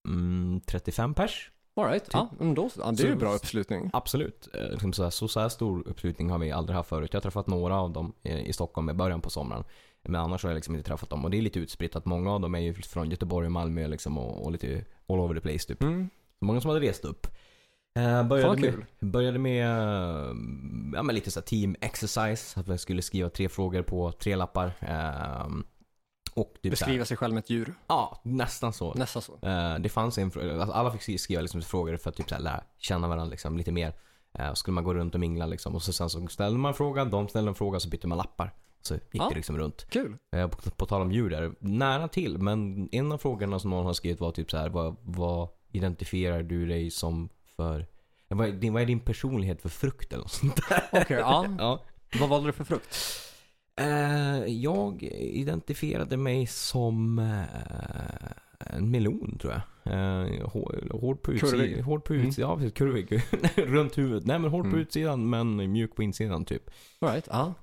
mm, 35 pers. All right, typ. ja, men då, så. ja, det är ju Så- bra uppslutning. Absolut. Eh, Liksom så, här, så, så här stor uppslutning har vi aldrig haft förut. Jag har träffat några av dem eh, i Stockholm i början på sommaren. Men annars har jag liksom inte träffat dem. Och det är lite utspritt att många av dem är ju från Göteborg och Malmö liksom och, och lite all over the place typ. Mm. Många som hade rest upp. Eh, Fan vad började, kul. med, började med eh, ja, men lite så här team exercise. Att jag skulle skriva tre frågor på tre lappar. Eh, och typ så här- Beskriva sig själv med ett djur, Ja, nästan så. nästan så. Eh, det fanns en frå- alltså alla fick skri- skriva liksom frågor för att typ så här lära känna varandra liksom, lite mer. Eh, och skulle man gå runt och mingla liksom. Och så sen så ställde man en fråga, de ställde en fråga, så bytte man lappar. Så gick Ja. det liksom runt. Kul. Eh, på, på tal om djur där, nära till, men en av frågorna som någon har skrivit var typ så här, vad, vad identifierar du dig som för... Vad är din, vad är din personlighet för frukt eller något sånt där? Okej, ja. Ja. Vad valde du för frukt? Eh, jag identifierade mig som eh, en melon tror jag. Eh, hår, hård på Kurvig. utsidan. Hård på utsidan. Ja, precis. Kurvig. Runt huvudet. Nej men hård på Mm. utsidan men mjuk på insidan typ. All right, ja.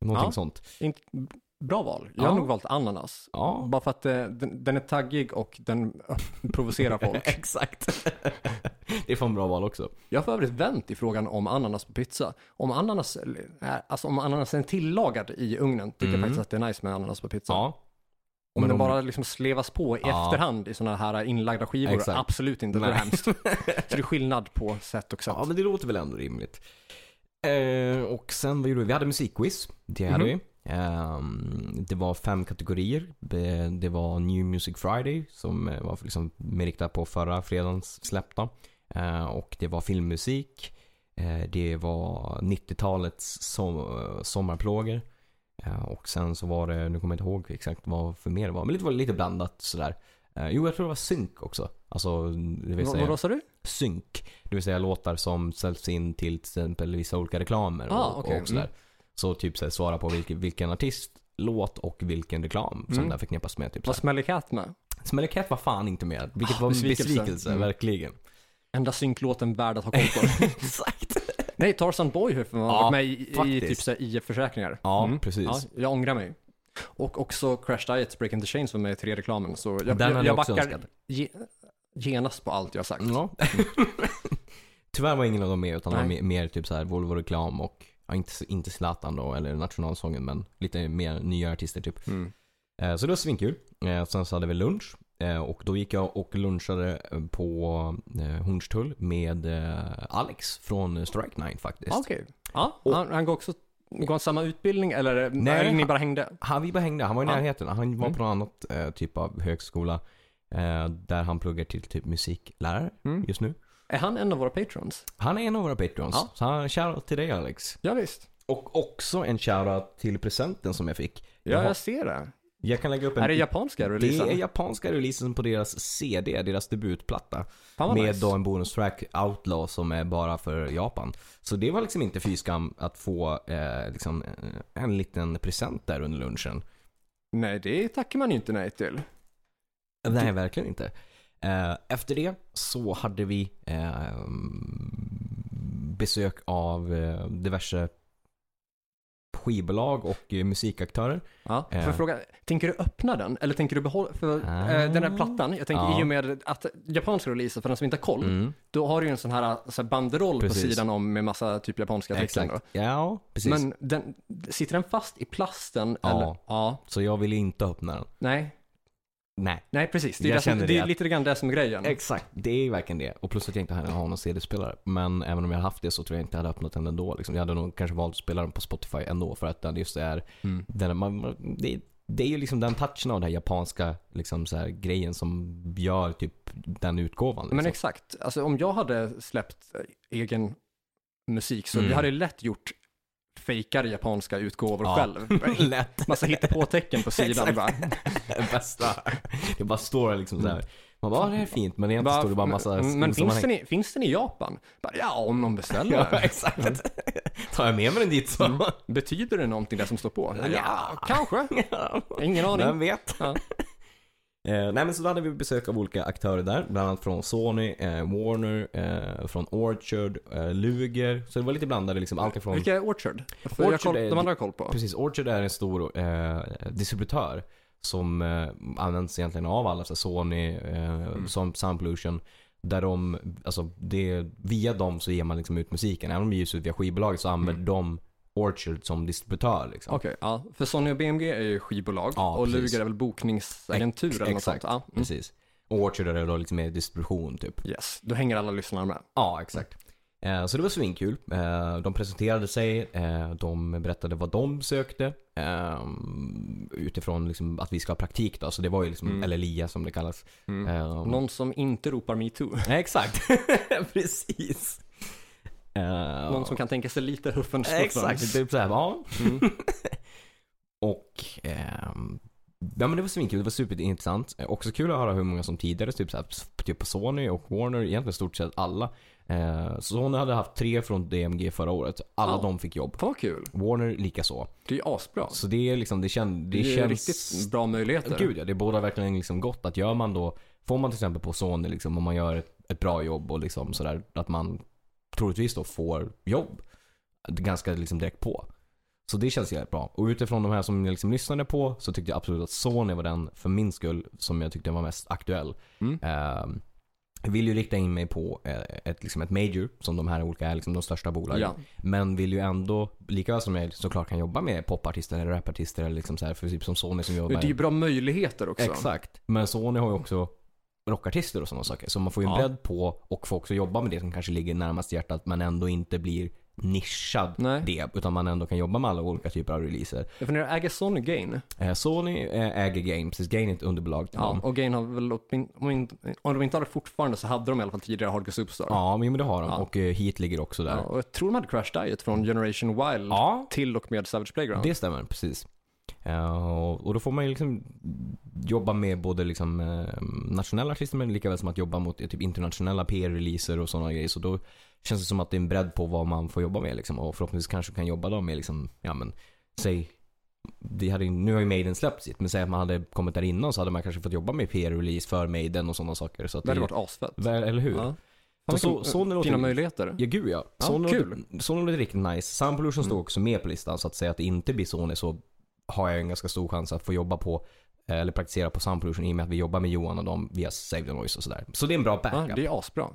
Någonting Ja. sånt. In- Bra val. Jag har Ja. nog valt ananas. Ja. Bara för att eh, den, den är taggig och den provocerar folk. Exakt. det är fan bra val också. Jag har för övrigt vänt i frågan om ananas på pizza. Om ananas, är, alltså om ananas är tillagad i ugnen tycker jag Mm. faktiskt att det är nice med ananas på pizza. Ja. om men den om- bara liksom slevas på i Ja. efterhand i sådana här inlagda skivor, Exakt. absolut inte. Det är Nej. hemskt. Så det är skillnad på sätt och sätt. Ja men det låter väl ändå rimligt. Eh, och sen vad gjorde vi? Vi hade musikquiz. Det hade Mhm. vi. Ehm, det var fem kategorier. Eh, Det var New Music Friday som eh, var liksom mer riktat på förra fredagens släppta. Eh, och det var filmmusik. Eh, det var 90-talets som, eh, sommarplågor. Eh, och sen så var det, nu kommer jag inte ihåg exakt vad för mer det var, men det var lite blandat sådär. Eh, jo, jag tror det var synk också. Alltså, det vill Vad- säga Vad sa du? synk. Det vill säga låtar som säljs in till till exempel vissa olika reklamer och, Ah, okej. och sådär. Mm. Så typ så här, svara på vilken, vilken artistlåt och vilken reklam som Mm. den där förknippas med. Typ, Vad såhär. smäller katt med? Smelly Cat var fan inte med, vilket Ah, var en besvikelse. besvikelse, Mm. verkligen. Enda synklåten värd att ha koll på. Exakt. Nej, Tarzan Boy har Ja, varit med i, i faktiskt. typ så här IF-försäkringar. Ja, precis. jag ångrar mig. Och också Crash Diets Break into Chains var med i tre reklamen. Så jag, Den hade jag, jag jag också backar önskat. ge, genast på allt jag har sagt. Ja. Tyvärr var ingen av dem med utan det var Nej. mer, mer typ såhär Volvo-reklam och, ja, inte, inte Zlatan då eller nationalsången men lite mer nya artister typ. Mm. Eh, Så det var svinkul. Eh, Sen så hade vi lunch. Eh, Och då gick jag och lunchade eh, på eh, Hornstull med eh, Alex från Strike Nine faktiskt. Ah, Okej. Ja, Och- han, han går också går han samma utbildning eller Nej, Nej, ni han- bara hängde? Han, vi bara hängde. Han var i Ja. närheten. Han var Mm. på någon annan eh, typ av högskola. eh, Där han pluggar till typ musiklärare Mm. just nu. Är han en av våra patrons? Han är en av våra patreons. Ja. Så han, shoutout till dig Alex. Ja, visst. Och också en shoutout till presenten som jag fick. Ja, Jaha. jag ser det. Jag kan lägga upp en... Är det japanska releasen? Det är japanska releasen på deras CD, deras debutplatta. Fan vad med nice. då en bonustrack Outlaw som är bara för Japan. Så det var liksom inte fy skam att få eh, liksom, eh, en liten present där under lunchen. Nej, det tackar man ju inte nej till. Nej, verkligen inte. Eh, efter det så hade vi eh, besök av eh, diverse skivbolag och eh, musikaktörer. Ja, Eh. för fråga, tänker du öppna den eller tänker du behålla, för Ah. eh, den här plattan, jag tänker Ja. i och med att japanska releaser, för den som inte har koll, Mm, då har du ju en sån här, så här banderoll Precis. på sidan om med massa typ japanska tecken. exakt. Då. Ja, precis. Men den, sitter den fast i plasten? Ja. Eller? ja. Så jag ville inte öppna den. Nej, Nej. nej precis. Det är, Jag det som, känner det är det. lite grann det som är grejen. Exakt, det är ju verkligen det. Och plus att jag inte hade- har någon CD-spelare. Men även om jag hade haft det så tror jag inte jag hade öppnat den ändå. Liksom. Jag hade nog kanske valt att spela den på Spotify ändå för att den just är... Mm. Den, man, man, det, det är ju liksom den touchen av den här japanska liksom, så här, grejen som gör typ den utgåvan. Liksom. Men exakt, alltså om jag hade släppt eh, egen musik så Mm. jag hade lätt gjort fejkade japanska utgåvor Ja. själv. Lätt. Massa hittepåtecken på sidan Exakt. bara. Det bästa. Det bara står liksom så här. Man bara, "Ah, det här är fint. Men egentligen Bara- står det bara massa... men men finns, den i, finns den i Japan? Bara, ja, om någon beställer. Ja, Mm. exakt. Tar jag med mig den dit så... Betyder det någonting det som står på? Ja. kanske. Ingen aning. Vem vet? Ja. Eh, nej men så då hade vi besök av olika aktörer där. Bland annat från Sony, eh, Warner, eh, från Orchard, eh, Luger. Så det var lite blandade liksom. Allt ifrån... Vilka är Orchard? För Orchard jag koll, är- de andra har koll på. Precis, Orchard är en stor eh, distributör. Som eh, används egentligen av alla. Så Sony, eh, som Sound Pollution. Där de, alltså det, via dem så ger man liksom ut musiken. Även om det ges ut via skivbolaget så använder de Orchard som distributör liksom. Okej, ja. För Sony och BMG är ju skivbolag Ja, och precis. Luger är väl bokningsagentur eller något sånt. Exakt. Ja. Mm. Precis. Och Orchard är då lite mer distribution typ. Yes, då hänger alla lyssnare med. Ja, exakt. Eh, Så det var svinkul. Eh, De presenterade sig, eh, de berättade vad de sökte. eh, Utifrån liksom att vi ska ha praktik då, så det var ju liksom LLIA som det kallas. Eh, Mm. Någon som inte ropar metoo. Nej, Exakt, precis. Eh, Någon som kan tänka sig lite huffen Exakt, typ såhär, ja. och Mm. ehm, Ja men det var svinkul, det var superintressant. Eh, Också kul att höra hur många som tidigare, typ, så här, typ på Sony och Warner, egentligen stort sett alla. Eh, Sony hade haft tre från DMG förra året. Alla Ja. de fick jobb. Fan vad kul. Warner likaså. Det är ju asbra. Så det är liksom, det, kän, det, Det, är känns... riktigt bra möjligheter. Gud ja, det båda verkligen liksom gott att gör man då, får man till exempel på Sony liksom, om man gör ett, ett bra jobb och liksom sådär, att man troligtvis då får jobb ganska liksom direkt på. Så det känns jävligt bra. Och utifrån de här som jag liksom lyssnade på så tyckte jag absolut att Sony var den, för min skull, som jag tyckte var mest aktuell. Mm. Ehm, jag vill ju rikta in mig på eh, ett, liksom ett major, som de här olika är liksom de största bolagen. Ja. Men vill ju ändå, lika väl som jag såklart kan jobba med popartister eller rapartister eller liksom så här, för typ som Sony som jobbar Men det är ju bra möjligheter också. Exakt. Men Sony har ju också rockartister och sådana saker. Så man får ju en Ja. bredd på och får också jobba med det som kanske ligger närmast hjärtat men ändå inte blir nischad Nej. det. Utan man ändå kan jobba med alla olika typer av releaser. Jag funderar, äger Sony Gain? Eh, Sony eh, äger Game, precis. Game är ett underbolag till Ja, dem. och Gain har väl, åtmin- om inte- om de inte hade fortfarande så hade de i alla fall tidigare Hardcore Superstar. Ja, men men det har de. Ja. Och eh, Heat ligger också där. Ja, och jag tror de hade Crash Diet från Generation Wild Ja. till och med Savage Playground. Det stämmer, precis. Eh, och, och då får man ju liksom jobba med både liksom, eh, nationella artister men lika väl som att jobba mot eh, typ internationella PR-releaser och sådana grejer. Så då känns det som att det är en bredd på vad man får jobba med liksom. Och förhoppningsvis kanske kan jobba då med liksom, ja men, säg det hade, ju- nu har ju Maiden släppt sitt, men säg att man hade kommit där innan så hade man kanske fått jobba med PR-release för Maiden och sådana saker. Så att Det hade varit asfett. Väl, eller hur? Ja. Så- Fan, så- vilken- Sony låter- fina möjligheter. Ja, gud ja. Ja, Sony, kul. Mm. låter, Sony låter riktigt nice. Sound Pollution står också med på listan, så att säga att det inte blir Sony så har jag en ganska stor chans att få jobba på, eh, eller praktisera på Sound Pollution i och med att vi jobbar med Johan och dem via Save the Noise och sådär. Så det är en bra Ja, backup. det är asbra.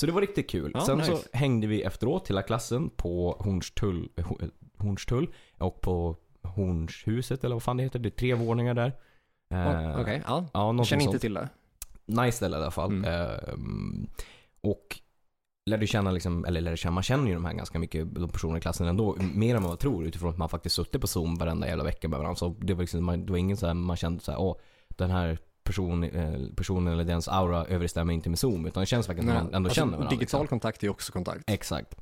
Så det var riktigt kul. Ja, Sen så nice. hängde vi efteråt, hela klassen, på Hornstull, eh, Ho- eh, Hornstull och på Hornshuset eller vad fan det heter. Det är tre våningar där. Ja, Okej, Eh, ja. Jag Ja, någonting känner sånt inte till det. nice ställe i alla fall. Mm. Ehm, och lärde känna, liksom, eller lärde känna, man känner ju de här ganska mycket, de personerna i klassen ändå, mer än vad man tror utifrån att man faktiskt suttit på Zoom varenda jävla vecka med varandra. Så det var, liksom, man, det var ingen så här, man kände så här, åh, den här person, eh, personen eller dens aura överensstämmer inte med Zoom, utan det känns verkligen som Nej. man ändå Alltså, känner varandra. Digital liksom. kontakt är också kontakt. Exakt.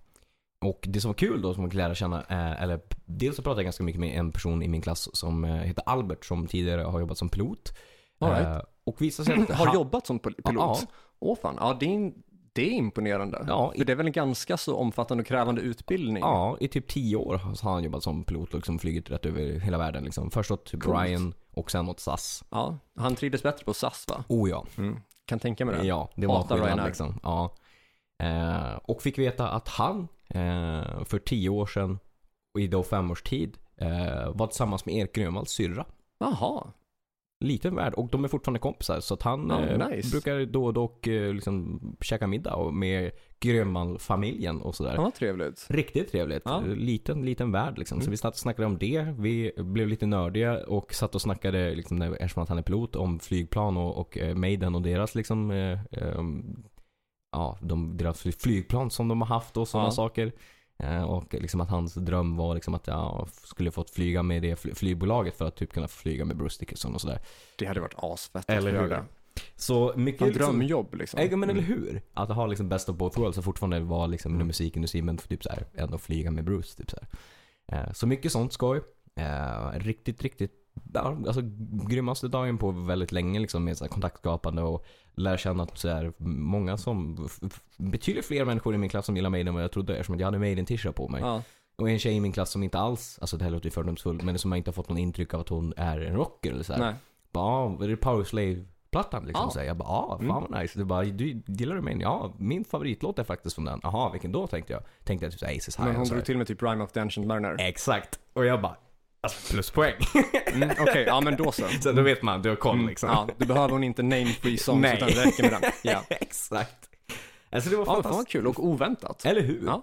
Och det som var kul då som man kunde lära känna, eh, eller p- dels så pratade jag ganska mycket med en person i min klass som eh, heter Albert som tidigare har jobbat som pilot. All right. Eh, och visade sig att Har han- jobbat som pil- pilot? Ja. Åh fan, ja, det, är, in- det är imponerande. Ja, i- För det är väl en ganska så omfattande och krävande utbildning? Ja, i typ tio år har han jobbat som pilot och liksom flugit rätt över hela världen. Liksom. Först åt typ Coolt. Ryan och sen åt SAS. Ja, Han trivdes bättre på SAS va? Oh ja. Kan tänka mig det. Ja, det var en Hatar skillnad Ryanair. liksom. Ja. Eh, och fick veta att han eh, för tio år sedan och i då fem års tid eh, var tillsammans med Erik Grönvalls syrra. Jaha, Liten värld och de är fortfarande kompisar så att han Ja, eh, Ah, nice. brukar då och då eh, liksom käka middag och med Grönvall-familjen och sådär. ja, vad trevligt. Riktigt trevligt. Ja. Mm. Liten, liten värld liksom. Så vi satt och snackade om det. Vi blev lite nördiga och satt och snackade, liksom, när- eftersom att han är pilot, om flygplan och, och eh, Maiden och deras liksom, eh, ehm, ja, de, deras fly- flygplan som de har haft och sådana Ja. saker. Eh, och liksom att hans dröm var liksom att jag skulle fått flyga med det fly- flygbolaget för att typ kunna flyga med Bruce Dickinson och sådär. Det hade varit asfett Eller att få hur? göra det. Så mycket... En liksom- drömjobb liksom. Ja, men eller Mm. hur? Att ha liksom best of both worlds och fortfarande vara liksom inom musikindustrin men typ så här, ändå flyga med Bruce. Typ så, här. Eh, så mycket sånt skoj. Eh, riktigt, riktigt ja, alltså, grymmaste dagen på väldigt länge liksom med så här kontaktskapande och lära känna att så här, många som, f- f- betydligt fler människor i min klass som gillar Maiden än vad jag trodde eftersom att jag hade Maiden-t-shirt på mig. Ja. Och en tjej i min klass som inte alls, alltså det här låter ju fördomsfullt, men som jag inte har fått någon intryck av att hon är en rocker eller så här. Nej. Bara, "Ah, är det Power Slave-plattan liksom? Ja. Mm. Så jag bara, ja, fan vad nice. Du bara, du, gillar du mig? Ja, min favoritlåt är faktiskt från den. Jaha, vilken då tänkte jag? Tänkte jag typ så här, Aces High. Men och hon så här. drog till med typ Rhyme of the Ancient Mariner. Exakt. Och jag bara, alltså pluspoäng. Mm, Okej, ja men då så. så då vet man, du har koll liksom. Mm. Ja, då behöver hon inte name free songs Nej. utan det räcker med den. Ja, Exakt. Alltså det var ja fan vad fantastiskt. kul och oväntat. Eller hur? Ja.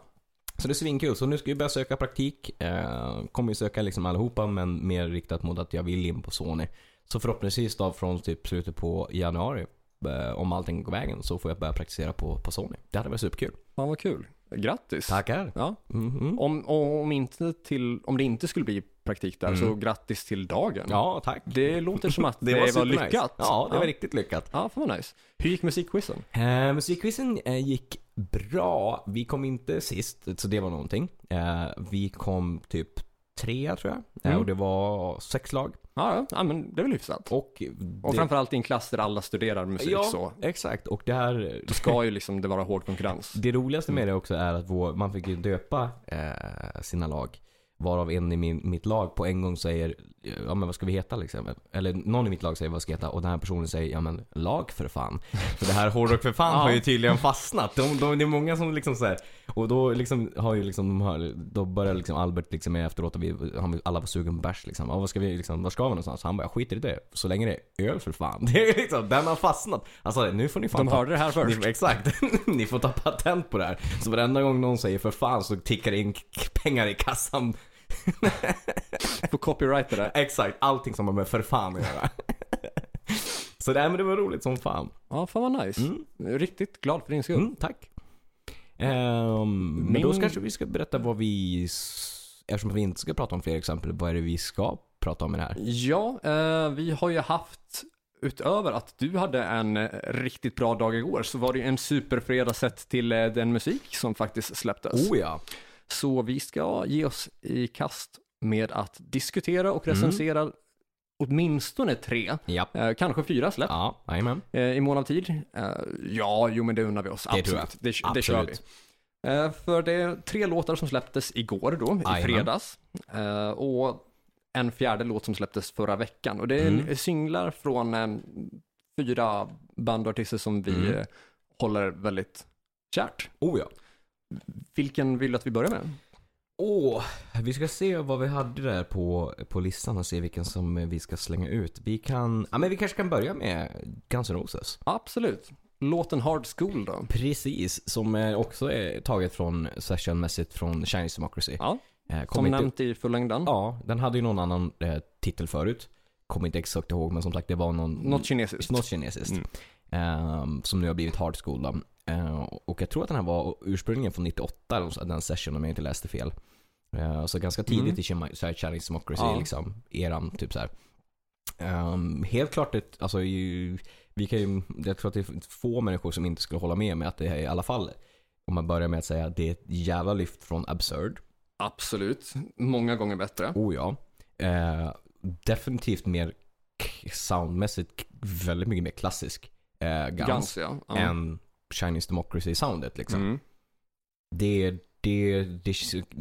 Så det är svinkul. Så nu ska jag börja söka praktik. Eh, kommer ju söka liksom allihopa men mer riktat mot att jag vill in på Sony. Så förhoppningsvis då från typ slutet på januari, eh, om allting går vägen, så får jag börja praktisera på, på Sony. Det hade varit superkul. Fan vad kul. Grattis. Tackar. Ja. Mhm. Om, om, inte till, om det inte skulle bli praktik där så grattis till dagen. Ja, tack. Det låter som att Mm. det, var, supernice. lyckat. Ja, det var riktigt lyckat. Ja, fan vad nice. Hur gick musikquizen? Eh, musikquizen eh, gick bra. Vi kom inte sist, så det var någonting. Eh, vi kom typ trea tror jag. Eh, Mm. Och det var sex lag. Ja, ja. ja, men det är väl hyfsat. Och, Och det- framförallt i en klass där alla studerar musik ja, så exakt. Och det här ska ju liksom det vara hård konkurrens. Det roligaste med det också är att vår, man fick ju döpa eh, sina lag. Varav en i min, mitt lag på en gång säger ja men vad ska vi heta liksom? Eller någon i mitt lag säger vad ska jag heta och den här personen säger ja men lag för fan. Så det här hårdrock för fan Ja. har ju tydligen fastnat. De, de, det är många som liksom så här, och då liksom har ju liksom de här, då börjar liksom Albert liksom med efteråt och vi, han, alla var sugen på bärs liksom. Ja, vad ska vi liksom, var ska vi någonstans? Han bara skiter i det. Så länge det är öl för fan. Det är liksom, den har fastnat. Alltså nu får ni fan De ta- hörde det här först. ni, exakt. Ni får ta patent på det här. Så varenda gång någon säger för fan så tickar det in k- pengar i kassan. Får copyrighta det. Exakt, allting som har med för fan att göra. så det, här, men det var roligt som fan. Ja, fan vad nice. Mm. Riktigt glad för din skull. Mm, tack. Ehm, Men Min- då kanske vi ska berätta vad vi, s- eftersom vi inte ska prata om fler exempel, vad är det vi ska prata om i det här? Ja, eh, vi har ju haft, utöver att du hade en eh, riktigt bra dag igår, så var det ju en superfredag sett till eh, den musik som faktiskt släpptes. Oh ja. Så vi ska ge oss i kast med att diskutera Mm. och recensera åtminstone tre, Ja. eh, kanske fyra släpp Ja, jajamän. eh, i mån av tid. Eh, ja, jo men det unnar vi oss. tror jag. Absolut. Det, det kör vi. Absolut. Eh, för det är tre låtar som släpptes igår då, i Jajamän. fredags. Eh, och en fjärde låt som släpptes förra veckan. Och det är Mm. singlar från eh, fyra band och artister som vi Mm. eh, håller väldigt kärt. Oh ja. Vilken vill du att vi börjar med? Åh, vi ska se vad vi hade där på, på listan och se vilken som eh, vi ska slänga ut. Vi kan, ja men vi kanske kan börja med Guns N' Roses. Absolut. Låten Hard School då. Precis, som eh, också är taget från sessionmässigt från Chinese Democracy. Ja, Eh, kom som inte- Mm. nämnt i fullängden. Ja, den hade ju någon annan eh, titel förut. Kommer inte exakt ihåg men som sagt det var någon... Något kinesiskt. Mm. Något kinesiskt. Ehm, som nu har blivit Hard School då. Ehm, och jag tror att den här var ursprungligen från 98, eller så- den session om jag inte läste fel. Ehm, så ganska tidigt Mm. i Chima- så här Chinese Democracy, Ja. liksom, eran typ så här. Ehm, helt klart, ett, alltså, ju, vi kan ju, jag tror att det är få människor som inte skulle hålla med mig att det är i alla fall, om man börjar med att säga att det är ett jävla lyft från Absurd. Absolut. Många gånger bättre. Oh ja. Eh, definitivt mer k- soundmässigt k- väldigt mycket mer klassisk eh, Guns, Guns, ja. ja. än Chinese Democracy soundet liksom. Mm. Det, det, det,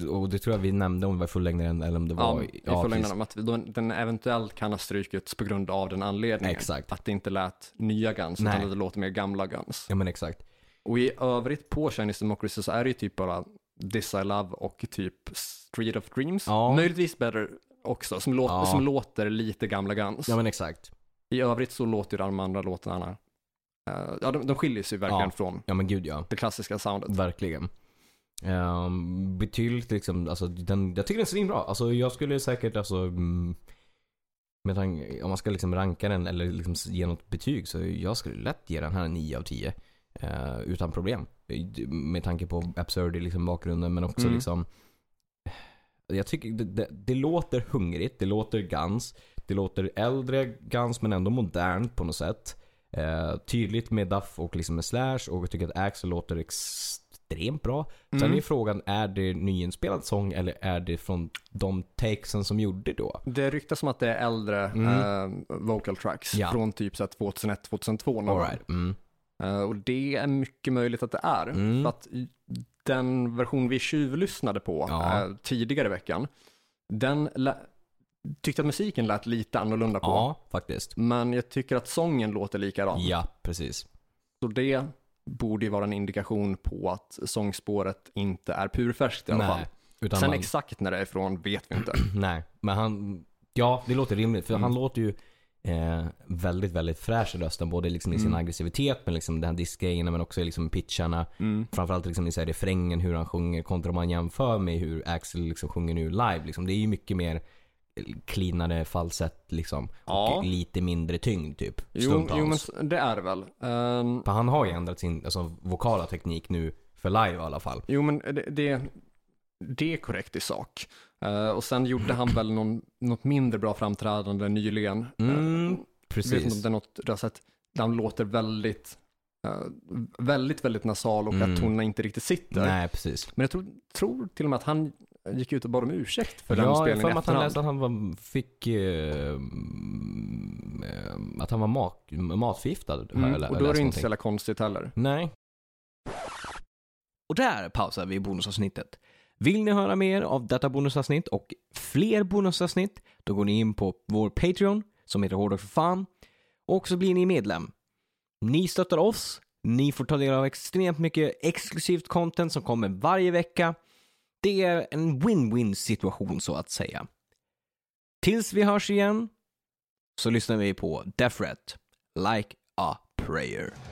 och det tror jag vi nämnde om det var fullängdaren eller om det ja, var... i ja, förlängningen precis. om att vi- då- den eventuellt kan ha strykits på grund av den anledningen. Exakt. Att det inte lät nya Guns, Nej. utan att det låter mer gamla Guns. Ja men exakt. Och i övrigt på Chinese Democracy så är det ju typ bara This I Love och typ Street of Dreams. Ja. Möjligtvis Better också, som, låter Ja. som låter lite gamla Guns. Ja men exakt. I övrigt så låter ju de andra låtarna, eh, ja de, de skiljer sig verkligen Ja. från Ja men gud ja. det klassiska soundet. Verkligen. Um, betydligt liksom, alltså den, jag tycker den är svinbra. Alltså jag skulle säkert alltså, mm, med tanke, om man ska liksom ranka den eller liksom s- ge något betyg så jag skulle lätt ge den här en 9 av 10. eh, utan problem. Eh, Med tanke på absurd i liksom bakgrunden men också Mm. liksom jag tycker det, det, det låter hungrigt, det låter Guns. Det låter äldre Guns men ändå modernt på något sätt. Eh, tydligt med Duff och liksom med Slash och jag tycker att Axel låter extremt bra. Mm. Sen är ju frågan, är det nyinspelad sång eller är det från de takesen som gjorde då? Det ryktas som att det är äldre eh, vocal tracks Mm. Ja. från typ 2001-2002 någon gång. Alright. Mm. Eh, Och det är mycket möjligt att det är. Mm. För att i- den version vi tjuvlyssnade på Ja. eh, tidigare i veckan, den lä- tyckte att musiken lät lite annorlunda på. Ja, faktiskt. Men jag tycker att sången låter likadan. Ja, precis. Så det borde ju vara en indikation på att sångspåret inte är purfärskt i alla fall. Nej, utan Sen man, exakt när det är ifrån vet vi inte. nej, men han... Ja, det låter rimligt. För Mm. han låter ju eh, väldigt, väldigt fräsch i rösten. Både liksom i sin Mm. aggressivitet, men liksom den här diskgrejerna, men också i liksom pitcharna. Mm. Framförallt liksom i så här refrängen, hur han sjunger kontra om man jämför med hur Axel liksom sjunger nu live. Liksom. Det är ju mycket mer cleanare falsett liksom. Ja. Och lite mindre tyngd typ. Jo, stundtals. jo, men s- det är det väl. Ehm, För han har ju ändrat sin alltså, vokala teknik nu för live i alla fall. Jo, men det, det, det är korrekt i sak. Eh, och sen gjorde han väl någon, något mindre bra framträdande nyligen. Eh, Mm, jag vet inte om precis. det är något du har sett. Där han låter väldigt, eh, väldigt, väldigt nasal och Mm. att tonerna inte riktigt sitter. Nej, precis. Men jag tror, tror till och med att han gick ut och bad om ursäkt för Ja, den jag har spelningen för mig att han efterhand. läste att han var, fick... Eh, mm, eh, att han var mak, matförgiftad. har jag lä- Mm, och då är läst det inte någonting. så jävla konstigt heller. Nej. Och där pausar vi bonusavsnittet. Vill ni höra mer av detta bonusavsnitt och fler bonusavsnitt, då går ni in på vår Patreon som heter Hårdrock för fan och så blir ni medlem. Ni stöttar oss, ni får ta del av extremt mycket exklusivt content som kommer varje vecka. Det är en win-win situation så att säga. Tills vi hörs igen så lyssnar vi på Death Threat, Like a Prayer.